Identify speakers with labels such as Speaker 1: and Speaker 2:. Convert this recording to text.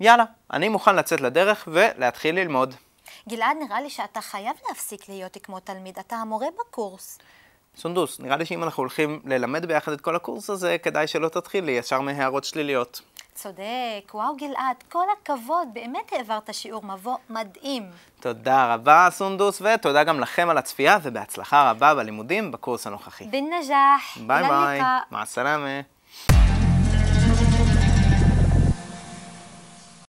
Speaker 1: יאללה, אני מוכן לצאת לדרך ולהתחיל ללמוד.
Speaker 2: גלעד, נראה לי שאתה חייב להפסיק להיות כמו תלמיד, אתה המורה בקורס.
Speaker 1: סונדוס, נראה לי שאם אנחנו הולכים ללמד ביחד את כל הקורס הזה, כדאי שלא תתחילי ישר מהערות שליליות.
Speaker 2: צודק, וואו גלעד, כל הכבוד, באמת העברת שיעור מבוא מדהים.
Speaker 1: תודה רבה, סונדוס, ותודה גם לכם על הצפייה, ובהצלחה רבה בלימודים בקורס הנוכחי.
Speaker 2: בן נג'אח.
Speaker 1: ביי
Speaker 2: إلى
Speaker 1: ביי,
Speaker 2: اللقاء.
Speaker 1: מע סלאמה.